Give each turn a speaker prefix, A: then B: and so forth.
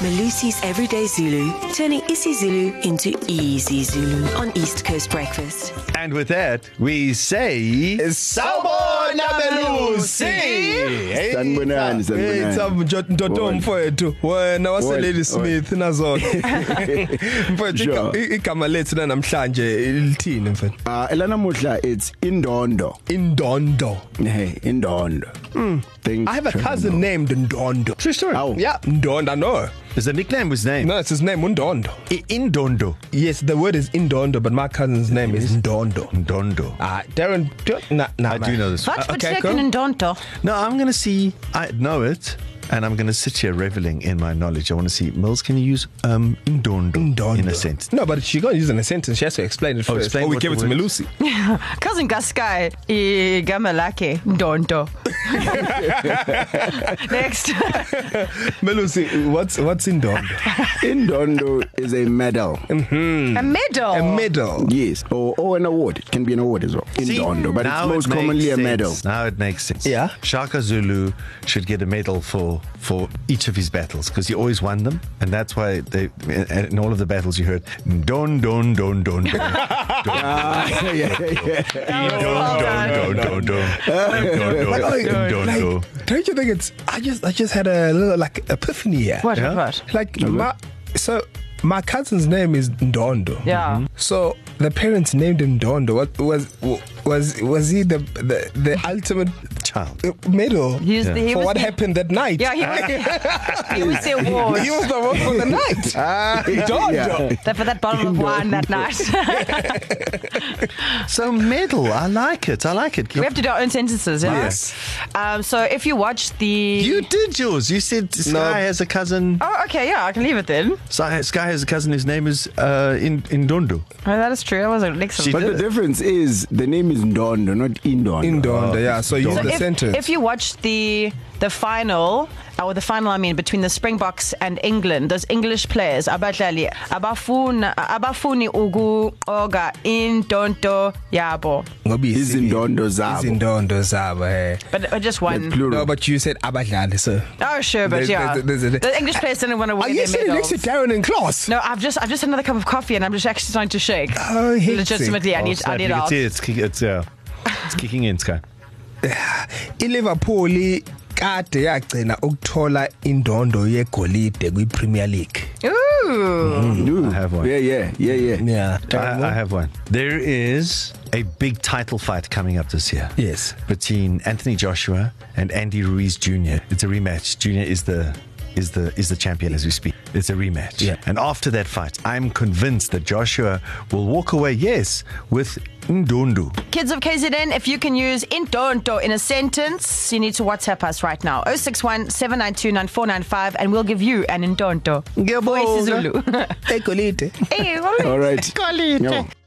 A: Malusi's Everyday Zulu, turning isiZulu into easy Zulu on East Coast Breakfast.
B: And with that, we say
C: Sawubona, Belusi.
B: Hey,
C: Sanibonani, sanibonani.
B: hey, sam- Njo- ndodo
C: Bona.
B: mfowethu wena
C: Bona,
B: waselady
C: bona.
B: smith nazona mfowethu iga-
C: Sure.
B: i- igama lethu lanamhlanje lithini mfowethu
C: Uh elanamuhla it's Indondo.
B: indondo
C: Hey, Indondo. Mm. Things
B: i have a
C: Trevor
B: cousin
C: Noah.
B: named ndondo true story
C: How?
B: yeah ndondo no
D: Is the nickname his name?
B: no it's his name undondo
D: I- Indondo.
B: yes the word is indondo but my cousin's name is ndondo
D: Indondo.
B: uh darren do- nah, nah,
D: I
B: man.
D: do know this.
E: What?
D: one.
B: Uh,
E: But
B: okay,
E: second
B: go.
E: and Donto.
D: No, I'm going to see. I know it, and I'm going to sit here reveling in my knowledge. I want to see. Mills, can you use um Indondo,
B: Ndondo.
D: in a sentence?
B: No, but she can't use it in a sentence. She has to explain it
D: Oh,
B: first.
D: explain
B: or we
D: what
B: give it
D: the
B: to
D: word
B: Melusi.
E: Cousin Gaskai, igama lakhe Donto. Next.
B: Melusi, what's what's in dog?
C: Indondo is a medal.
E: A medal.
D: Oh.
B: A medal.
C: Yes, or, or an award. It can be an award as well. Indondo, but it's
D: now
C: most
D: it makes
C: commonly a
D: sense.
C: medal.
D: Now it makes sense.
B: Yeah.
D: Shaka Zulu should get a medal for for each of his battles because he always won them, and that's why they in all of the battles you heard don don don don don.
C: Ah, yeah, yeah, yeah.
D: Don, don, don, don, don, don, don, don.
B: Like, don't you think it's? I just I just had a little like epiphany here.
E: What,
D: Yeah.
E: what, what?
B: Like my so my cousin's name is Ndondo.
E: Yeah. Mhm.
B: So the parents named him Ndondo. What was was was he the the, the ultimate
D: Child.
B: medal
E: He's the- he
B: for
E: was
B: what
E: the-
B: happened that night?
E: Yeah, he was, he was the award.
B: He was the one for the night. Ah, Ndondo.
C: Yeah.
E: That- For that bottle of wine that night.
D: So medal, I like it. I like it.
E: we have to do our own sentences, yeah?
B: Yes.
E: Um, so if you watch the.
D: You did yours. You said Sky
B: No.
D: has a cousin.
E: Oh, okay, yeah, I can leave it then.
D: Sky, Sky has a cousin. His name is uh, in Indondo.
E: Oh, that is true. That was an excellent.
D: She
C: But the difference is the name is Ndondo, not Indondo.
B: Ndondo. Yeah. So use
D: So
B: the
E: if,
B: sentence.
E: If you watch the the final, or the final, I mean, between the Springboks and England, those English players, abadlali abafuna abafuni ugu oga indonto yabo.
B: Ngoba isizwe.
C: Izindondo zabo.
B: Izindondo zabo. Hey.
E: But uh, just one.
C: The plural.
B: No, but you said abadlali, so.
E: oh, sure, but
B: There's-
E: yeah,
B: there's- there's- there's-
E: the English players didn't want to
B: Are
E: wear
B: you
E: their
B: sitting next
E: medals.
B: to Darren in class?
E: No, I've just I've just had another cup of coffee and I'm just actually starting to shake.
B: Oh, hectic.
E: Legitimately, I need I need
D: Oh, you can
E: out.
D: see it's, kick- it's, uh, it's kicking in, Sky.
B: ILiverpool kade yagcina ukuthola indondo yegolide kwiPremier League.
E: Ooh,
C: Ooh.
D: I have one.
C: Mm. Yeah, yeah, yeah, yeah.
B: Yeah.
D: I, I have one. There is a big title fight coming up this year.
B: Yes.
D: Between Anthony Joshua and Andy Ruiz Jr. It's a rematch. Jr. is the is the is the champion as we speak. It's a rematch.
B: Yeah.
D: And after that fight, I'm convinced that Joshua will walk away, yes, with Ndundu.
E: Kids of KZN, if you can use indonto in a sentence, you need to WhatsApp us right now. 061 792 9495 and we'll give you an indonto.
B: Ngiyabonga.
E: Voice Zulu.
B: Egolide.
E: hey, all right.
C: All right.
E: Call it.
C: Yeah.